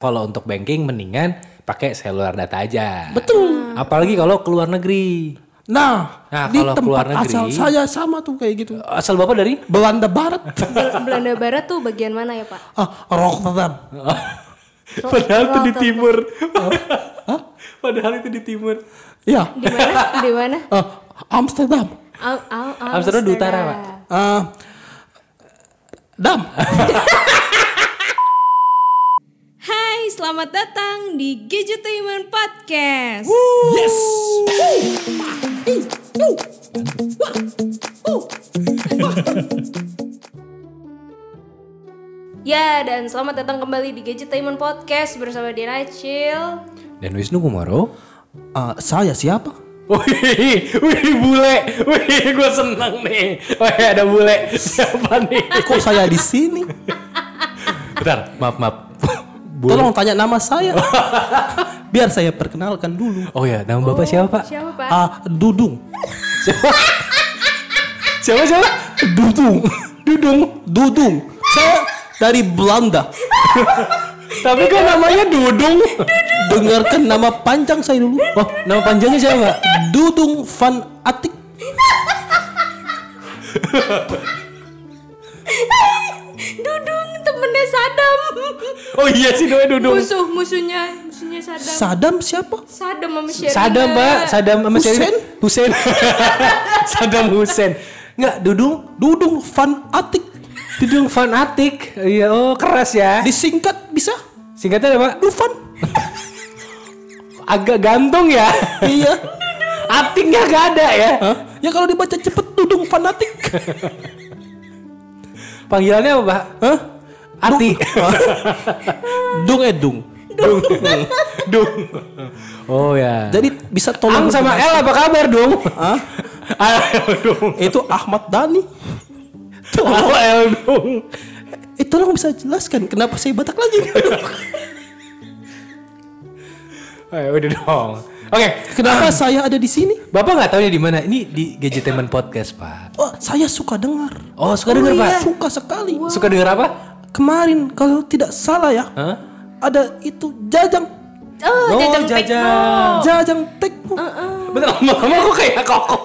Kalau untuk banking mendingan pakai seluler data aja. Ah. Betul. Apalagi kalau keluar negeri. Nah, Nah, di kalau tempat keluar negeri- asal saya sama tuh kayak gitu. Asal Bapak dari? Belanda Barat, Bel- Belanda Barat tuh bagian mana ya Pak? oh, ah, Rotterdam. Padahal itu di Rotterdam. timur. Padahal itu di timur. Ya, Di mana? Di mana? ah, Amsterdam. Au- au- Amsterdam di utara, Pak. Ah, Dam. Hai, selamat datang di Gadgetainment Podcast. Yes. Ya, dan selamat datang kembali di Gadgetainment Podcast bersama Diana Acil. Dan Wisnu Kumoro. Ah, saya siapa? Wih, wih bule, wih gue seneng nih. Wih ada bule, siapa nih? Eh, Kok saya di sini? Bentar, maaf maaf. Bule. Tolong tanya nama saya. Biar saya perkenalkan dulu. Oh ya, nama bapak siapa pak? Siapa Pak? Ah, Dudung. Siapa siapa? Dudung. Dudung. Dudung. Saya dari Belanda. Tapi kan namanya Dudung. Dengarkan nama panjang saya dulu. Oh, Wah, nama panjangnya siapa? Dudung Van Atik. Dudung temennya Sadam. Oh iya sih namanya Dudung. Musuh musuhnya musuhnya Sadam. Sadam siapa? Sadam sama Sherina. Sadam pak, Sadam sama Hussein? Sherina. Hussein. Sadam Hussein. Enggak, Dudung. Dudung Van Atik. Dudung fanatik. Iya, oh keras ya. Disingkat bisa? Singkatnya apa? Dufan. Agak gantung ya. iya. Atiknya gak ada ya. Hah? Ya kalau dibaca cepet Dudung Van Atik. Panggilannya apa pak? Hah? Ati. Dung Edung. Dung. Dung. Oh ya. Jadi bisa Ang tolong sama berkomunikasi. L apa kabar dong? Hah? L dong. Itu Ahmad Dhani. Apa L dong? Eh tolong bisa jelaskan kenapa saya Batak lagi? Eh, udah dong. Oke. kenapa saya ada di sini? Bapak nggak tahu ini di mana? Ini di Gadgetainment Podcast pak. Oh, saya suka dengar. Oh suka dengar pak? Suka sekali. Suka dengar apa? Kemarin kalau tidak salah ya, Hah? ada itu Jajang Oh, Oh, jajang Jajang. Tekno. Jajang Tekno. Bentar lama-lama kok kayak kokok.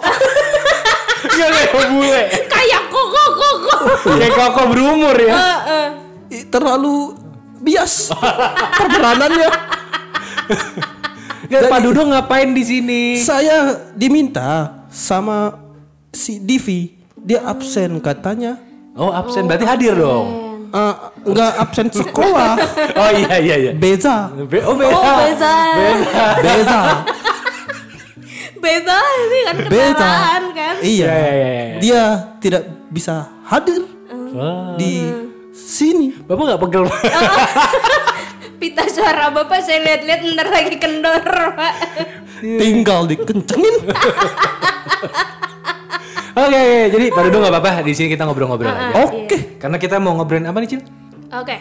Gak kayak bule. Kayak kok kok kok kok. Kayak kokok berumur ya. Eh, eh. Ih, Terlalu bias perberanannya. Nggak, ya. Pak Dodo ngapain di sini? saya diminta sama si Divi, dia absen katanya. Oh absen berarti hadir dong. Eh, nggak absen sekolah, Oh iya iya iya. beza, Be- oh beda. Oh, Beza. beza, Beza ini kan beza. kendaraan kan. Iya, Iya, iya, iya. dia tidak bisa hadir Oh. di sini. Bapak nggak pegel Pak? Pita suara Bapak saya lihat-lihat ntar lagi kendor, Pak. Iya. Tinggal dikencengin. Oke, oke, jadi Pak Dodo nggak apa-apa. Di sini kita ngobrol-ngobrol aja. Oke. Karena kita mau ngobrolin apa nih Cil? Oke.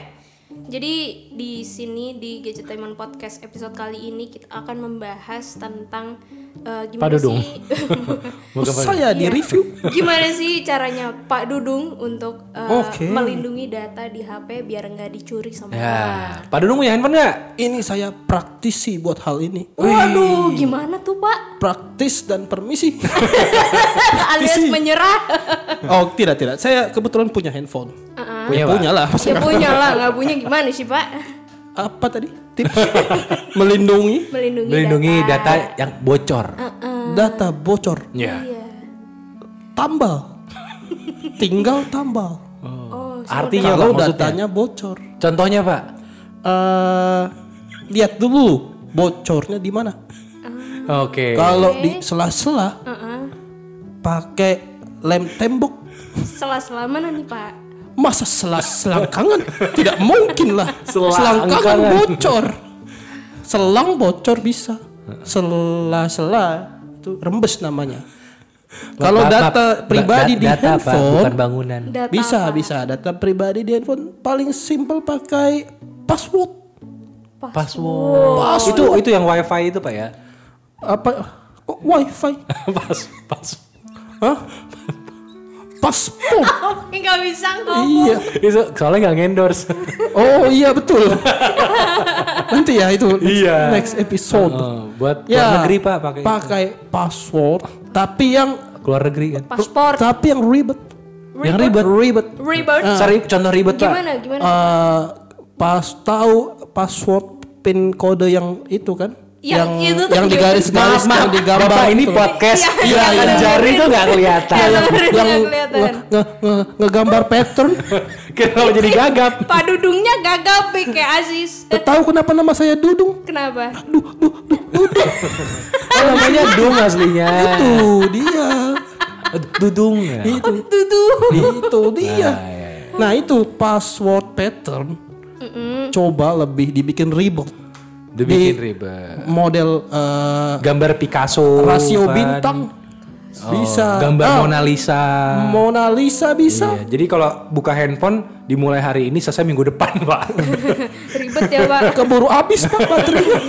Jadi di sini di Gadgetainment Podcast episode kali ini kita akan membahas tentang eh, gimana Padudung. sih Saya di review. gimana sih caranya Pak Dudung untuk eh, Oke. melindungi data di HP biar nggak dicuri sama Ya, orang. Pak Dodo punya handphone nggak? Ini saya praktisi buat hal ini. Waduh, gimana tuh Pak? Praktis dan permisi. Alias Praktisi. menyerah. Oh tidak tidak, saya kebetulan punya handphone. Punya, Ya, Pak. punya lah. ya punya lah, nggak punya gimana sih Pak? Apa tadi? Tips melindungi Melindungi, Melindungi data Ah, yang bocor. data bocor. Ya. Iya. Tambal. Tinggal tambal. Oh, Artinya Pak, Kalau maksudnya. datanya bocor. Contohnya Pak. eh lihat dulu bocornya di mana. Oke. Kalau di sela-sela pakai lem tembok sela-sela mana nih Pak? masa sela selangkangan tidak mungkin lah Selangkangan. selangkangan bocor selang bocor bisa sela sela itu rembes namanya kalau Pak, data Pak, pribadi da- di data, Pak, handphone bukan bangunan. Data bisa apa? bisa data pribadi di handphone paling simpel pakai password Pas- Password. Oh, Itu itu yang wifi itu Pak ya. apa kok wifi Pas pas. Hah? paspor. Oh, nggak bisa ngomong iya. Itu soalnya nggak endorse. Oh iya betul. Nanti ya itu next, Iya. next episode. Oh, buat luar ya. negeri pak pakai pakai password tapi yang keluar negeri kan. paspor tapi yang ribet. Yang ribet. Eh, Ribet. ribet Eh, Sorry, contoh ribet pak. gimana gimana Eh, pas tahu password pin kode yang itu kan? Yang itu tuh yang gimana? Maaf, digaris-garis maaf, yang digambar. gitu. Bapak ini itu. podcast Iya, iya, yang iya. jari tuh nggak kelihatan. Iya, iya. yang Nggak kelihatan. nge- nge- nge- ngegambar pattern. Kenapa jadi gagap? Pak Dudungnya gagal Pi, kayak Aziz Eh, Tahu kenapa nama saya Dudung? kenapa Oh, namanya Dung aslinya. Tuh dia. Dudung. ya? oh, Dudung itu dia. Ah, iya, Nah itu password pattern coba lebih dibikin ribet. Dibikin Di- ribet. Model eh, Gambar Picasso. rasio kan. bintang bisa. Oh, Gambar Ah, Mona Lisa. Mona Lisa bisa. Iya, jadi kalau buka handphone dimulai hari ini selesai minggu depan pak. ribet Iya. ya Pak Keburu habis pak baterainya.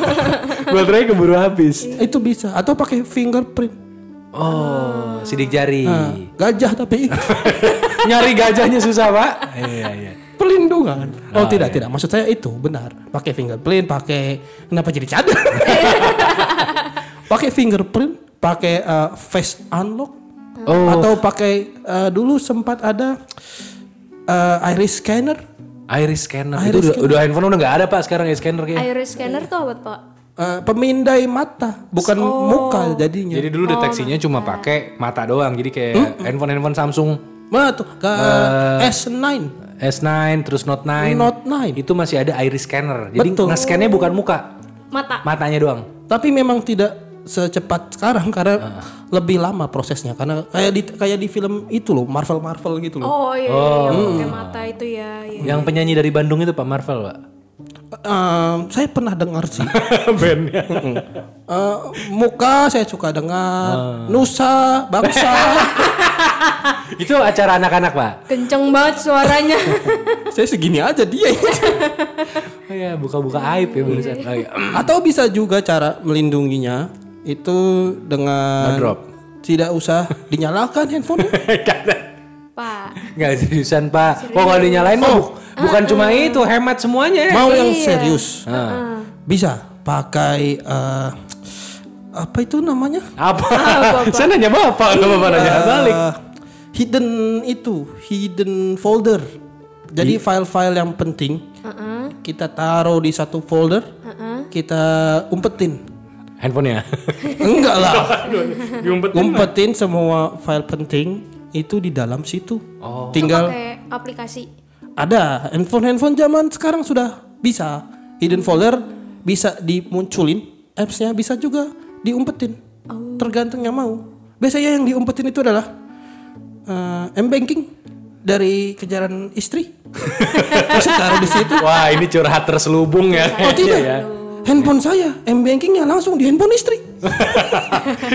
Baterai keburu habis. itu bisa. Atau pakai fingerprint. Oh, sidik jari. Gajah tapi Nyari gajahnya susah pak. Iya iya. pelindungan. Ah, Oh tidak tidak. Maksud saya itu benar. Pakai fingerprint. Pakai kenapa jadi cadar? pakai fingerprint. Pakai eh, face unlock. Oh, Atau pakai eh, dulu sempat ada eh, iris scanner. iris scanner Iris itu udah, udah handphone udah nggak ada pak sekarang iris scanner kayak. iris scanner tuh apa Pak eh, pemindai mata, bukan Oh, muka jadinya. Jadi dulu deteksinya cuma pakai mata doang. Jadi kayak handphone handphone Samsung Mana tuh? Ke S9, S9 terus Hmm, Note 9 Note 9. itu masih ada iris scanner. Jadi Betul. nge-scannya bukan muka, mata matanya doang. Tapi memang tidak secepat sekarang karena lebih lama prosesnya karena kayak di kayak di film itu loh, Marvel Marvel gitu loh. oh iya, iya, yang Hmm. pakai mata itu ya, iya. Yang penyanyi dari Bandung itu Pak Marvel, Pak. Eh, saya pernah dengar sih. Bandnya. Eh, muka saya suka dengar, Nusa, Bangsa. itu acara anak-anak, Pak. kenceng banget suaranya saya segini aja dia. Oh, Iya, buka-buka aib ya barusan. Oh, iya. Atau bisa juga cara melindunginya itu dengan Ngedrop. tidak usah dinyalakan handphone. Pak Oh iya. Nggak seriusan, Pak. Oh, Ah, kalau dinyalain mah bu- bukan cuma itu, hemat semuanya. ya? Mau yang serius. Ah. Bisa pakai eh, apa itu namanya? Apa? Saya nanya Bapak, nggak Bapak nanya balik. Eh, hidden itu, hidden folder. Jadi file-file yang penting kita taruh di satu folder, kita umpetin. Handphonenya. Enggak lah, ya? Ngumpet. umpetin semua file penting itu di dalam situ. Tinggal pakai aplikasi Ada handphone handphone zaman sekarang sudah bisa hidden folder bisa dimunculin appsnya bisa juga diumpetin tergantung yang mau biasanya yang diumpetin itu adalah eh, m banking dari kejaran istri Masuk taruh di situ Wah, ini curhat terselubung ya. oh tidak handphone saya m bankingnya langsung di handphone istri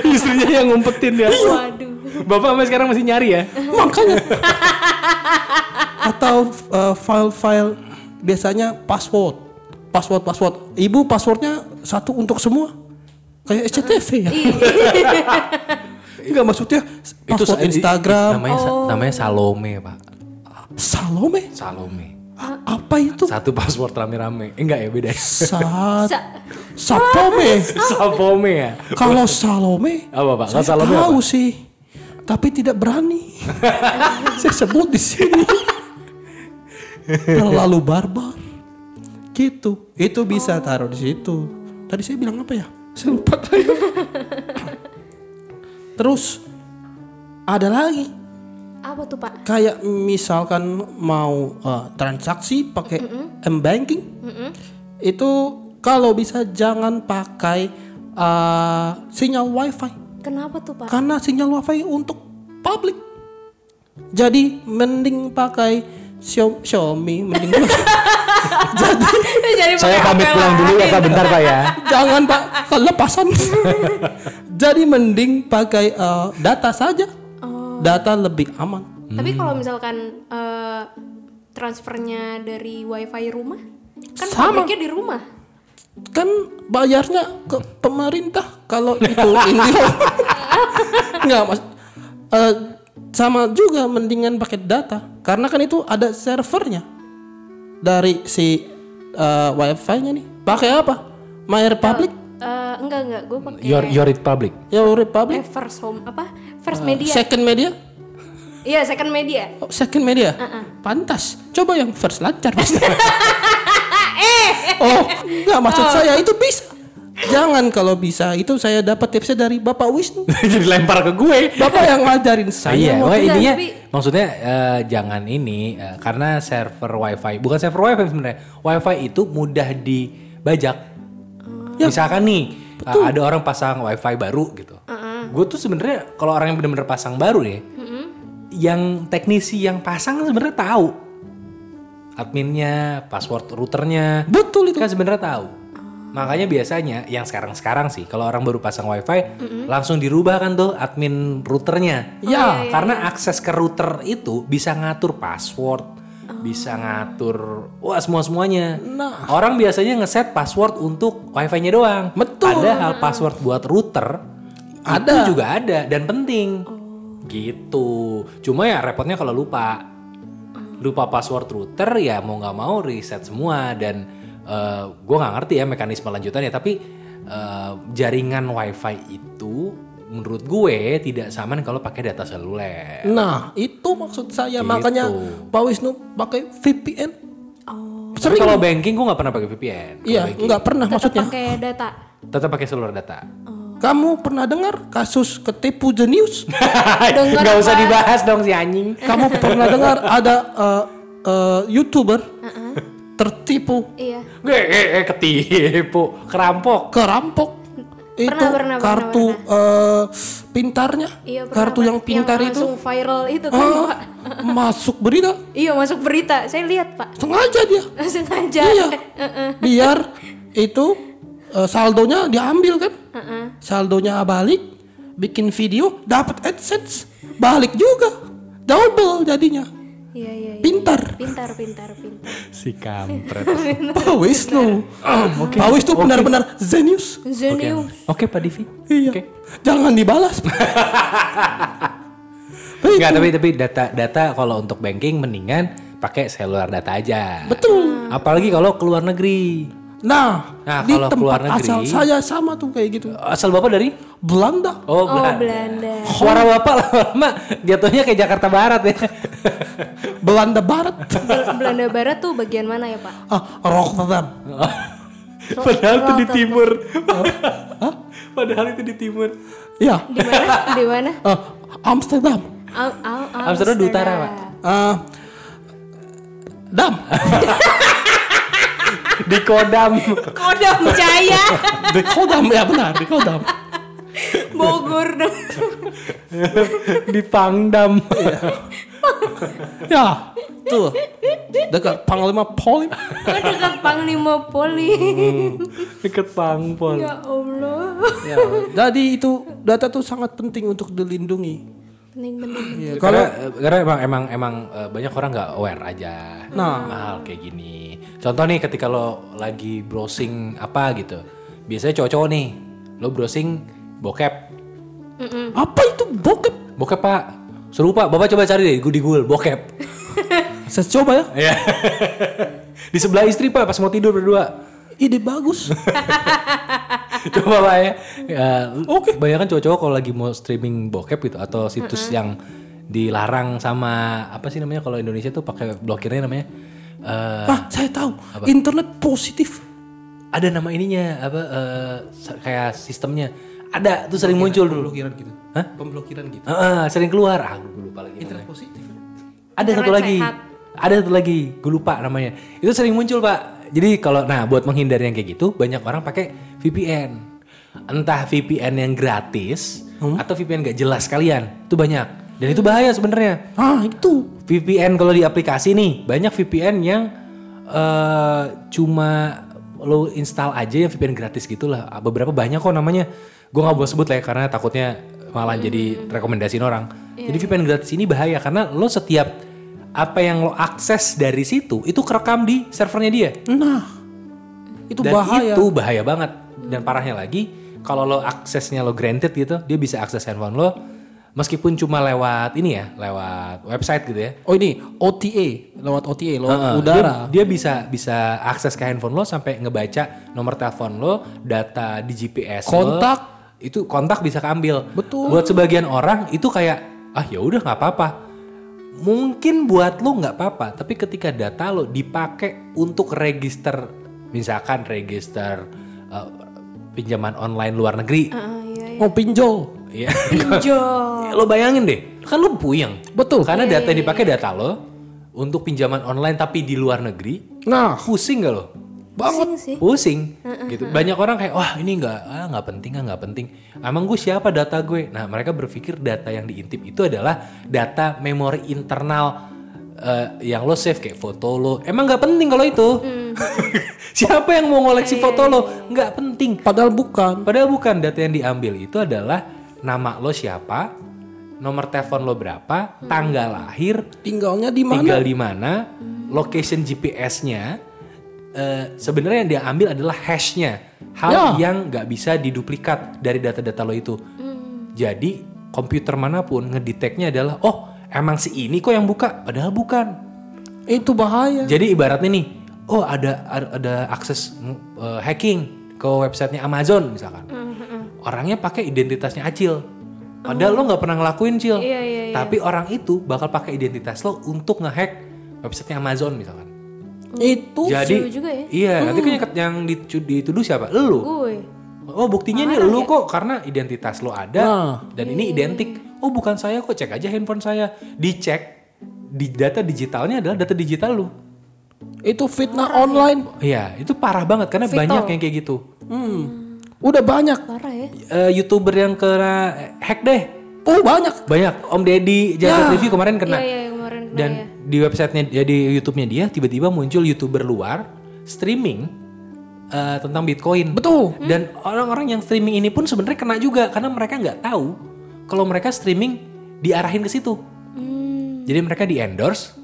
Istrinya yang ngumpetin ya. waduh Bapak sampai sekarang masih nyari ya? makanya atau eh, file-file biasanya password password password ibu passwordnya satu untuk semua kayak SCTV ya nggak maksudnya password sa- i- i- Instagram namanya sa- namanya Salome, Pak. Salome Salome. A- apa itu Satu password rame-rame. Eh, enggak ya beda. ya? Sa Sa- Sapome Salome ya. kalau Salome Apa, Pak? Kalau saya Salome tahu apa? sih tapi tidak berani saya sebut di sini terlalu barbar gitu itu bisa taruh di situ tadi saya bilang apa ya saya lupa tadi. terus ada lagi apa tuh Pak kayak misalkan mau eh, transaksi pakai m banking itu kalau bisa jangan pakai eh, sinyal wifi kenapa tuh Pak karena sinyal wifi untuk public jadi mending pakai Xiao- Xiaomi mending jadi Jadi Saya pakai pamit HP pulang dulu ya, lain. Pak. Bentar, Pak ya. jangan pak kelepasan jadi mending pakai eh, data saja data lebih aman Hmm. Tapi kalau misalkan eh, transfernya dari wifi rumah, kan Sama. pabriknya di rumah. kan bayarnya ke pemerintah kalau itu ini nggak mas eh, sama juga mendingan pakai data karena kan itu ada servernya dari si eh, wifi-nya nih pakai apa my republic Eh, enggak enggak gue pakai Your Your It Public. your eh, republic first home apa Eh, first media Ya, second media iya second media Oh, second media pantas coba yang first lancar Mas. oh nggak maksud saya itu bisa jangan kalau bisa itu saya dapat tipsnya dari bapak Wisnu Jadi lempar ke gue. bapak yang ngajarin saya Iya, waktu wah enggak, intinya tapi- maksudnya eh, jangan ini eh, karena server WiFi, bukan server WiFi sebenarnya. WiFi itu mudah dibajak. Misalkan nih eh, ada orang pasang WiFi baru gitu. Gue tuh sebenarnya kalau orang yang benar-benar pasang baru ya, yang teknisi yang pasang sebenarnya tahu adminnya, password routernya, betul itu kan sebenarnya tahu. Makanya biasanya yang sekarang-sekarang sih kalau orang baru pasang wifi langsung dirubah kan tuh admin routernya. Oh, iya, karena akses ke router itu bisa ngatur password, Oh. bisa ngatur wah semua-semuanya. Nah. Orang biasanya ngeset password untuk wifi-nya doang. Betul. Padahal password buat router ada Ada. juga ada dan penting. Gitu. Cuma ya repotnya kalau lupa lupa password router ya mau nggak mau reset semua dan gue nggak ngerti ya mekanisme lanjutannya tapi eh, jaringan wifi itu menurut gue tidak sama kalau pakai data seluler Nah, itu maksud saya. Gitu. Makanya Pak Wisnu pakai VPN. tapi Sering. kalau banking gue nggak pernah pakai VPN Kalau Iya, banking, nggak pernah tetap maksudnya. pakai data tetap pakai seluler data Kamu pernah dengar kasus ketipu jenius? Dengar nggak usah apa? dibahas dong si anjing Kamu pernah dengar ada eh, eh, YouTuber Uh-uh. tertipu, iya gue eh, eh, ketipu kerampok kerampok? Itu pernah, kartu eh, pintarnya, iya pernah, kartu Pak. yang pintar itu langsung viral itu kan ah, Pak. masuk berita iya masuk berita saya lihat pak sengaja dia. sengaja Iya. Heeh. biar itu eh, saldonya diambil kan saldonya balik bikin video dapat adsense balik juga double jadinya iya iya iya. pintar pintar pintar pintar si kampret Pak Wisnu Ah, Pak Wisnu benar-benar zenius Zenium oke Pak Divi iya Oke. jangan dibalas Hei, Enggak, tapi tapi data data kalau untuk banking mendingan pakai seluler data aja. Betul. Apalagi kalau keluar negeri. nah, Nah, di kalau keluar tempat negeri- asal saya sama tuh kayak gitu Asal Bapak dari? Belanda Oh, oh Belanda. Belanda Suara Bapak lama-lama jatuhnya kayak Jakarta Barat ya. Belanda Barat Bel- Belanda Barat tuh bagian mana ya pak ah Rotterdam Padahal itu di timur. Padahal itu di timur. ya di mana di mana eh, Amsterdam Am- Am- Amsterdam di utara, Pak. Eh, dam Di Kodam. Kodam Jaya di kodam ya benar di kodam Bogor dong. di Pangdam. ya tuh dekat panglima polim dekat kan Panglima Poli Deket Hmm. Pangpol. ya Allah Ya, jadi itu data tuh sangat penting untuk dilindungi penting penting Iya, Karena, kalau karena emang emang emang eh, banyak orang nggak aware aja Nah. hal kayak gini. Contoh nih ketika lo lagi browsing apa gitu, biasanya cowok-cowok nih lo browsing bokep, apa itu bokep bokep pak, seru pak, bapak coba cari deh di Google bokep. saya coba ya Ya. di sebelah istri pak pas mau tidur berdua, ide bagus coba pak ya. Oke. Banyak kan cowok-cowok kalau lagi mau streaming bokep gitu atau situs yang dilarang sama apa sih namanya kalau Indonesia tuh pakai blokirnya namanya. eh, ah saya tahu internet positif ada nama ininya apa eh, se- kayak sistemnya ada tuh sering muncul dulu pemblokiran gitu Hah? pemblokiran gitu Heeh, sering keluar ah gue lupa lagi namanya. positif ada satu Internet lagi sehat. ada satu lagi gue lupa namanya itu sering muncul pak jadi kalau nah buat menghindari yang kayak gitu banyak orang pakai VPN entah VPN yang gratis Hmm? atau VPN gak jelas kalian itu banyak dan itu bahaya sebenarnya ah itu VPN kalau di aplikasi nih banyak VPN yang eh, cuma lo install aja yang VPN gratis gitulah beberapa banyak kok namanya gue nggak mau sebut lah ya karena takutnya malah jadi Hmm. rekomendasiin orang Iya. jadi VPN gratis ini bahaya karena lo setiap apa yang lo akses dari situ itu kerekam di servernya dia nah itu dan bahaya itu bahaya banget dan parahnya lagi kalau lo aksesnya lo granted gitu dia bisa akses handphone lo meskipun cuma lewat ini ya, lewat website gitu ya. Oh ini OTA lewat OTA lewat Heeh, udara. Dia, dia bisa bisa akses ke handphone lo sampai ngebaca nomor telepon lo, data di GPS lo. Kontak. itu kontak bisa keambil. Betul. Buat sebagian orang itu kayak ah ya udah nggak apa-apa. Mungkin buat lo nggak apa-apa, tapi ketika data lo dipakai untuk register misalkan register eh, pinjaman online luar negeri. Ah, iya, iya. Oh pinjol. Iya. Pinjol. Ya, lo bayangin deh, kan lo puyeng. Betul. Karena data yang dipakai data lo untuk pinjaman online tapi di luar negeri Nah pusing gak lo? Pusing sih. Pusing, gitu. Banyak orang kayak wah ini nggak ah, nggak penting ah nggak penting. Emang gue siapa data gue? Nah mereka berpikir data yang diintip itu adalah data memori internal eh, yang lo save kayak foto lo. Emang nggak penting kalau itu. siapa yang mau ngoleksi foto lo? Nggak penting. padahal bukan. Padahal bukan data yang diambil itu adalah nama lo siapa, nomor telepon lo berapa, tanggal lahir, Tinggalnya di mana? tinggal di mana, location GPS-nya. eh, Sebenarnya yang dia ambil adalah hashnya, hal Ya. yang nggak bisa diduplikat dari data-data lo itu. Hmm. Jadi komputer manapun ngedeteknya adalah oh emang si ini kok yang buka, padahal bukan. Itu bahaya. Jadi ibaratnya nih, oh ada ada, ada akses mm, eh, hacking ke websitenya Amazon misalkan. Hmm, Orangnya pakai identitasnya Acil. Padahal lo nggak pernah ngelakuin Cil. Oh. Iya, iya, iya. Tapi orang itu bakal pakai identitas lo untuk ngehack websitenya Amazon misalkan. Itu Jadi juga ya. Uh. iya, nanti kan yang- yang ditu- dituduh siapa? Lo. Gue. Oh, buktinya nih lo ya? kok karena identitas lo ada Nah. dan Iya, ini identik. Oh, bukan saya kok, cek aja handphone saya. Dicek di data digitalnya adalah data digital lo. itu fitnah online. Iya, itu parah banget karena Vital. banyak yang kayak gitu. Hmm. Udah banyak. Parah ya. Eh, Youtuber yang kena hack deh, Oh banyak. banyak. Om Deddy Jagat Review kemarin Iya, kena. iya, kemarin kena Dan ya. di websitenya, ya di YouTube-nya dia tiba-tiba muncul youtuber luar streaming eh, tentang Bitcoin. Betul. Hmm. Dan orang-orang yang streaming ini pun sebenarnya kena juga karena mereka nggak tahu kalau mereka streaming diarahin ke situ. Jadi mereka di endorse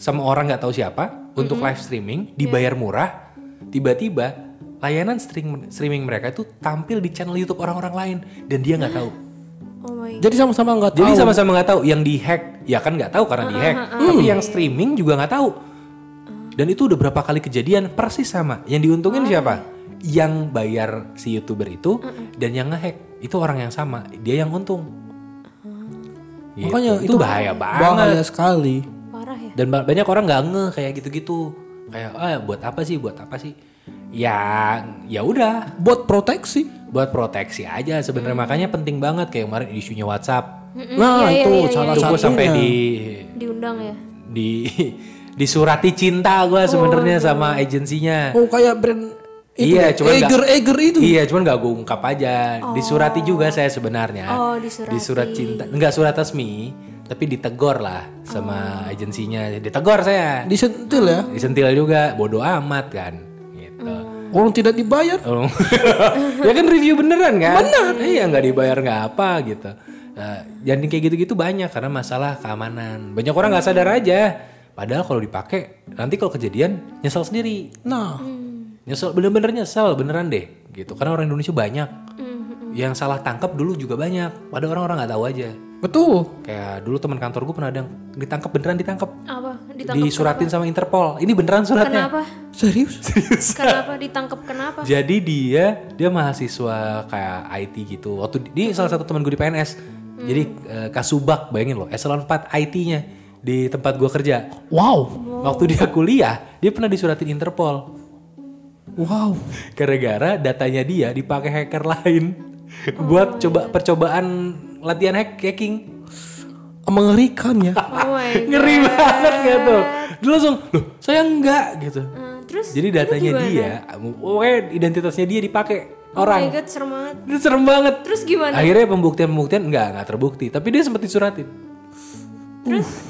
sama orang nggak tahu siapa untuk live streaming dibayar murah. Tiba-tiba layanan stream- streaming mereka itu tampil di channel YouTube orang-orang lain dan dia nggak tahu. Oh my god. Jadi sama-sama nggak tahu. Jadi sama-sama nggak tahu yang dihack, ya kan nggak tahu karena dihack. Tapi yang streaming juga nggak tahu. Dan itu udah berapa kali kejadian persis sama. Yang diuntungin siapa? Yang bayar si youtuber itu dan yang ngehack itu orang yang sama. Dia yang untung. Gitu. Iya, Makanya itu, bahaya banget. Bahaya sekali. Parah ya. Dan ba- banyak orang nggak ngeh kayak gitu-gitu. Kayak ah buat apa sih? Buat apa sih? Ya ya udah Buat proteksi. buat proteksi aja sebenarnya makanya penting banget kayak kemarin isunya WhatsApp. Nah iya, itu iya, iya, salah Itu gue satunya. sampai di Diundang ya. di disurati cinta Oh, gue sebenarnya iya. sama agensinya. Oh kayak brand itu Iya, ya, cuman nggak- Eger Eger itu. gitu? Iya, cuman gak gue ungkap aja. Disurati juga saya sebenarnya. Oh, disurati. Di surat cinta, enggak surat resmi, tapi ditegor lah sama Oh. agensinya. Ditegor saya. Disentil ya. Disentil juga, bodoh amat kan. Gitu. Hmm. Orang tidak dibayar. Oh. ya kan review beneran kan? Bener. Iya nggak dibayar nggak apa gitu. Nah, jadi kayak gitu-gitu banyak karena masalah keamanan. Banyak orang nggak sadar aja. Padahal kalau dipakai nanti kalau kejadian nyesel sendiri. Nah Mm. Nyesel bener-bener nyesel beneran deh gitu. Karena orang Indonesia banyak. Yang salah tangkap dulu juga banyak. Padahal orang-orang nggak tahu aja. betul. Kayak dulu teman kantor gue pernah ada yang ditangkap beneran ditangkap. Apa? Ditangkap. Disuratin sama Interpol. Ini beneran suratnya. Kenapa? Serius? Kenapa ditangkap kenapa? Jadi dia dia mahasiswa kayak IT gitu. Waktu di- dia salah satu teman gue di PNS. Hmm. Jadi eh, kasubag bayangin loh, eselon 4 IT-nya di tempat gue kerja. Wow. Oh. Waktu dia kuliah, dia pernah disuratin Interpol Wow. gara-gara datanya dia dipakai hacker lain Oh. buat coba percobaan latihan hack hacking. Mengerikan ya. Oh my god. Ngeri banget gak tuh? Iya. Dia langsung, "Loh, saya enggak." gitu. Eh, terus Jadi datanya dia, pokoknya identitasnya dia dipakai orang. Oh my orang. god, serem banget. Itu serem banget. Terus gimana? Akhirnya pembuktian-pembuktian nggak nggak terbukti, tapi dia sempat disuratin.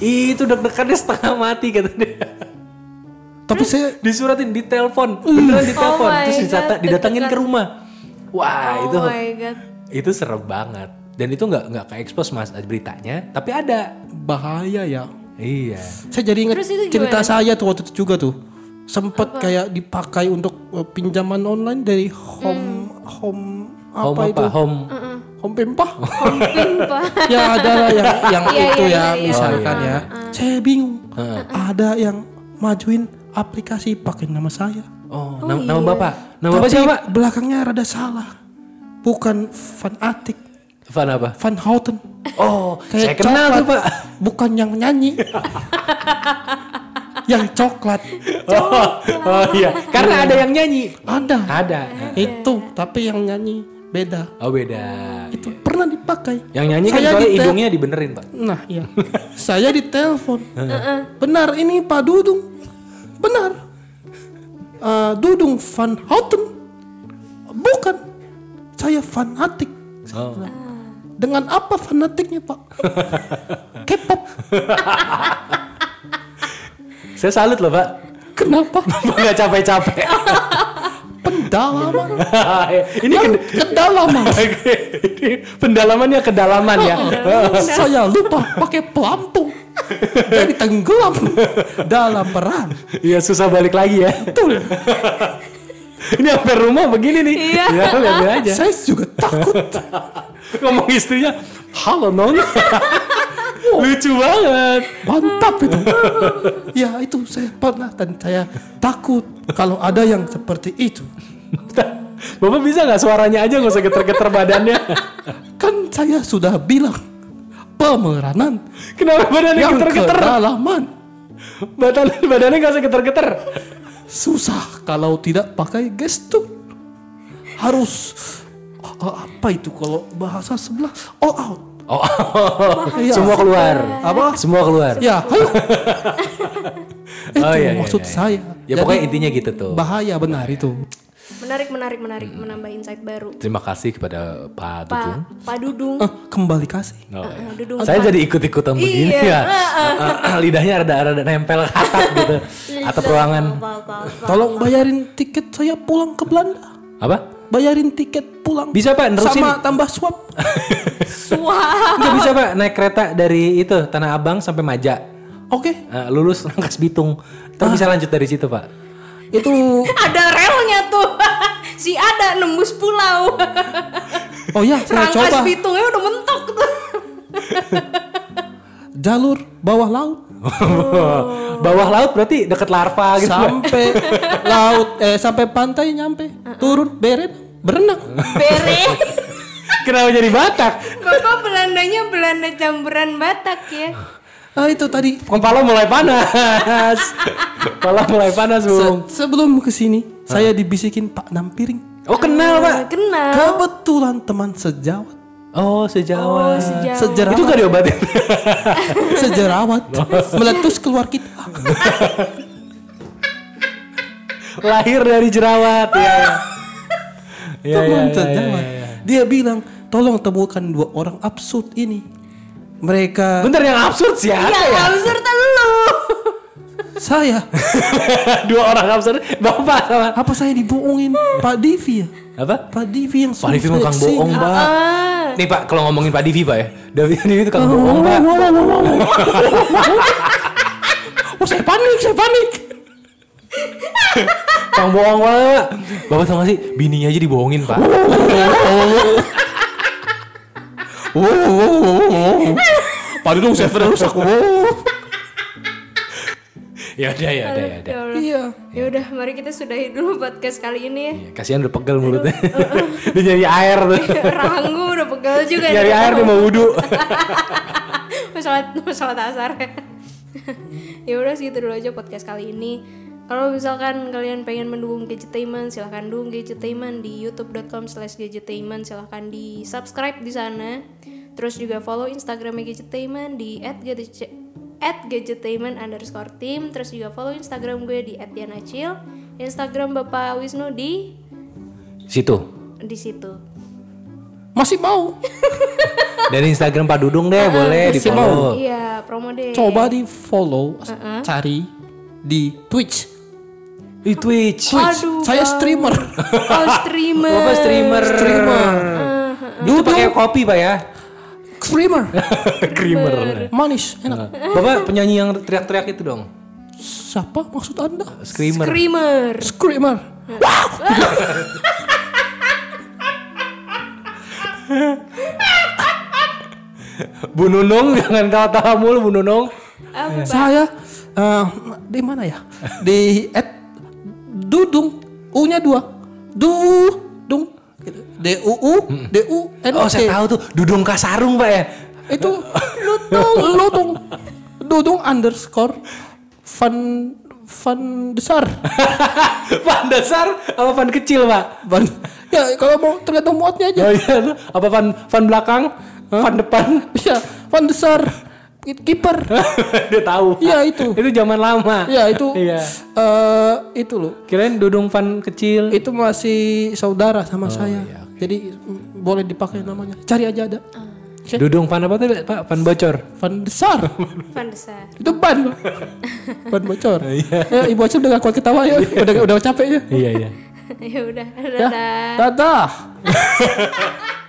Ih, itu deg-degannya setengah mati kata dia. Tapi saya Disuratin, ditelepon, beneran ditelepon, Oh my terus disata- God, didatengin ke deg-degan. rumah. Wah, Oh itu my god. itu serem banget. Dan itu nggak nggak kayak expose mas beritanya, tapi ada. bahaya ya. Iya. Saya jadi ingat Terus itu cerita saya tuh waktu itu juga tuh. Sempet kayak dipakai Hmm. untuk eh, pinjaman online dari home home apa home itu? apa? Home Hompempa. Pimpa. ya ada lah yang yang Iya, itu ya iya, iya, ah. iya. misalkan Oh, ya saya bingung Ah. ada yang majuin aplikasi pakai nama saya Oh, nama, nama bapak. Nama bapak Tapi siapa? belakangnya rada salah bukan Van Atik Van apa? Van Houten Oh, saya kayak kenal tuh coklat pak. bukan yang nyanyi yang coklat Oh, oh iya, karena ada yang nyanyi. ada Ada. itu tapi yang nyanyi beda Oh beda. itu pernah dipakai Yang nyanyi kan Saya soalnya dite- hidungnya dibenerin pak. Nah, iya. saya ditelepon. Benar ini Pak Dudung. Benar. Eh, Dudung Van Houten. Bukan. Saya fanatik. Saya Oh. bilang, Dengan apa fanatiknya, Pak? K-pop. Saya salut loh pak. Kenapa? Bapak nggak capek-capek. Pendalaman. Ini Yang ked- kedalaman. Ini pendalamannya kedalaman ya. saya lupa pakai pelampung. Jadi tenggelam dalam perang. Iya susah balik lagi ya. Betul. Ini hampir rumah begini nih. Iya. Ya, liatin aja. Saya juga takut. Ngomong istrinya, halo non. Lucu banget. mantap itu ya itu saya pernah dan saya takut kalau ada yang seperti itu Bapak bisa nggak suaranya aja nggak usah geter-geter badannya? kan saya sudah bilang pemeranan Kenapa badannya yang geter-geter? kedalaman Badan badannya nggak usah geter-geter. susah kalau tidak pakai gestur harus oh, apa itu kalau bahasa sebelah all out Oh, Iya. semua keluar. apa Semua keluar. ya ayo itu Oh, iya, iya, iya. maksud saya Ya Jadi, pokoknya intinya gitu tuh. bahaya benar itu menarik, menarik, menarik. Hmm. Menambah insight baru. Terima kasih kepada Pak Dudung. Pak, Pak Dudung. Eh, kembali kasih Oh, iya. Ah, Dudung Saya Pak. jadi ikut-ikutan begini Iya, ya. Ah, ah, Lidahnya rada-rada nempel ke atap gitu. Atap ruangan. Iya, Pak, Pak, Pak. Tolong bayarin tiket saya pulang ke Belanda. Apa? Bayarin tiket pulang. Bisa, Pak, nerusin. Sama tambah suap. Suap. Nggak bisa Pak naik kereta dari itu Tanah Abang sampai Maja. Oke. Eh, lulus Rangkas Bitung. Terus bisa lanjut dari situ Pak. Itu Ada relnya tuh. si ada nembus pulau. Oh ya, saya Rangkas coba bitungnya udah mentok tuh. jalur bawah laut Oh. Bawah laut berarti deket larva gitu. Pak. sampai laut eh sampai pantai nyampe. Turun beret berenang. Beres. Kenapa jadi Batak? Bapak Belandanya Belanda campuran Batak ya. Ah itu tadi Kepala mulai panas. Kepala mulai panas Se- Bung. sebelum ke sini Ah. saya dibisikin Pak Nampiring. Oh kenal Pak. Nah, Kenal. Kebetulan teman sejawat, Oh Oh, sejawat. sejauh. sejerawat, itu gak diobatin. sejerawat meletus keluar kita. Ah, Lahir dari jerawat ya. Ya, ya, teman ya, ya, sejawat. ya. Dia bilang, tolong temukan dua orang absurd ini. Mereka Bentar yang absurd sih ya. Ya, absurd lu. saya Dua orang absurd. Bapak sama apa saya dibohongin Pak Divi ya? apa? Pak Divi yang Pak suruh Divi saya mah kang kesini. bohong, Pak. Ah. Nih, Pak, kalau ngomongin Pak Divi, Pak ya. Davi Divi itu kang bohong, Pak. Oh saya panik, saya panik. Kang bohong banget, Pak. Bapak sama sih, bininya aja dibohongin, Pak. Oh, oh, oh, oh, oh. Pak Dudung saya rusak. Oh. ya udah, ya udah, ya udah. Ya Allah. Iya. Ya udah, mari kita sudahi dulu podcast kali ini ya. Iya, Kasihan udah pegel mulutnya. Dia nyari air tuh. Rahangku udah pegel juga Nyari Iya. air dia mau wudhu. masalah masalah dasar ya udah sih itu dulu aja podcast kali ini kalau misalkan kalian pengen mendukung Gadgetainment silahkan dukung Gadgetainment di youtube.com slash Gadgetainment silahkan di subscribe di sana terus juga follow instagramnya Gadgetainment di at gadgetainment underscore team terus juga follow instagram gue di at dianacil instagram bapak Wisnu di Situ. di situ Masih mau. Dari Instagram Pak Dudung deh, boleh masih Ah, mau. di-follow. iya promo deh Coba di follow, cari di Twitch. Di Twitch. aduh saya streamer. oh streamer Bapak streamer. Streamer. Dulu pakai kopi, Pak ya. Streamer. Creamer. Manis, enak. Bapak penyanyi yang teriak-teriak itu dong. Siapa maksud Anda? Screamer. Screamer. Screamer. Bu Nunung jangan kata mulu Bu Nunung. Apa, Pak? Iya. Saya eh, di mana ya? Di at Dudung U-nya dua. Dudung Gitu. D U U D U N Oh T. saya tahu tuh Dudung Kasarung pak ya. Itu Lutung Lutung Dudung underscore Van Van besar Pan dasar apa pan kecil pak? Van Ya kalau mau tergantung muatnya aja Oh iya, apa pan pan belakang, pan depan? Ya Van besar Kiper Dia tahu. Ya, itu. Itu zaman lama. Ya itu Iya. eh, Itu loh Kirain Dudung pan kecil. itu masih saudara sama saya. Jadi mm, boleh dipakai namanya. Cari aja ada. Oke. Dudung pan apa tuh pak? Pan bocor. Van Desar. Van Desa. itu ban. ban bocor. Ya, Ibu Acil udah gak kuat ketawa ya. udah udah capek ya. Iya iya. ya udah Ya. dadah Dadah.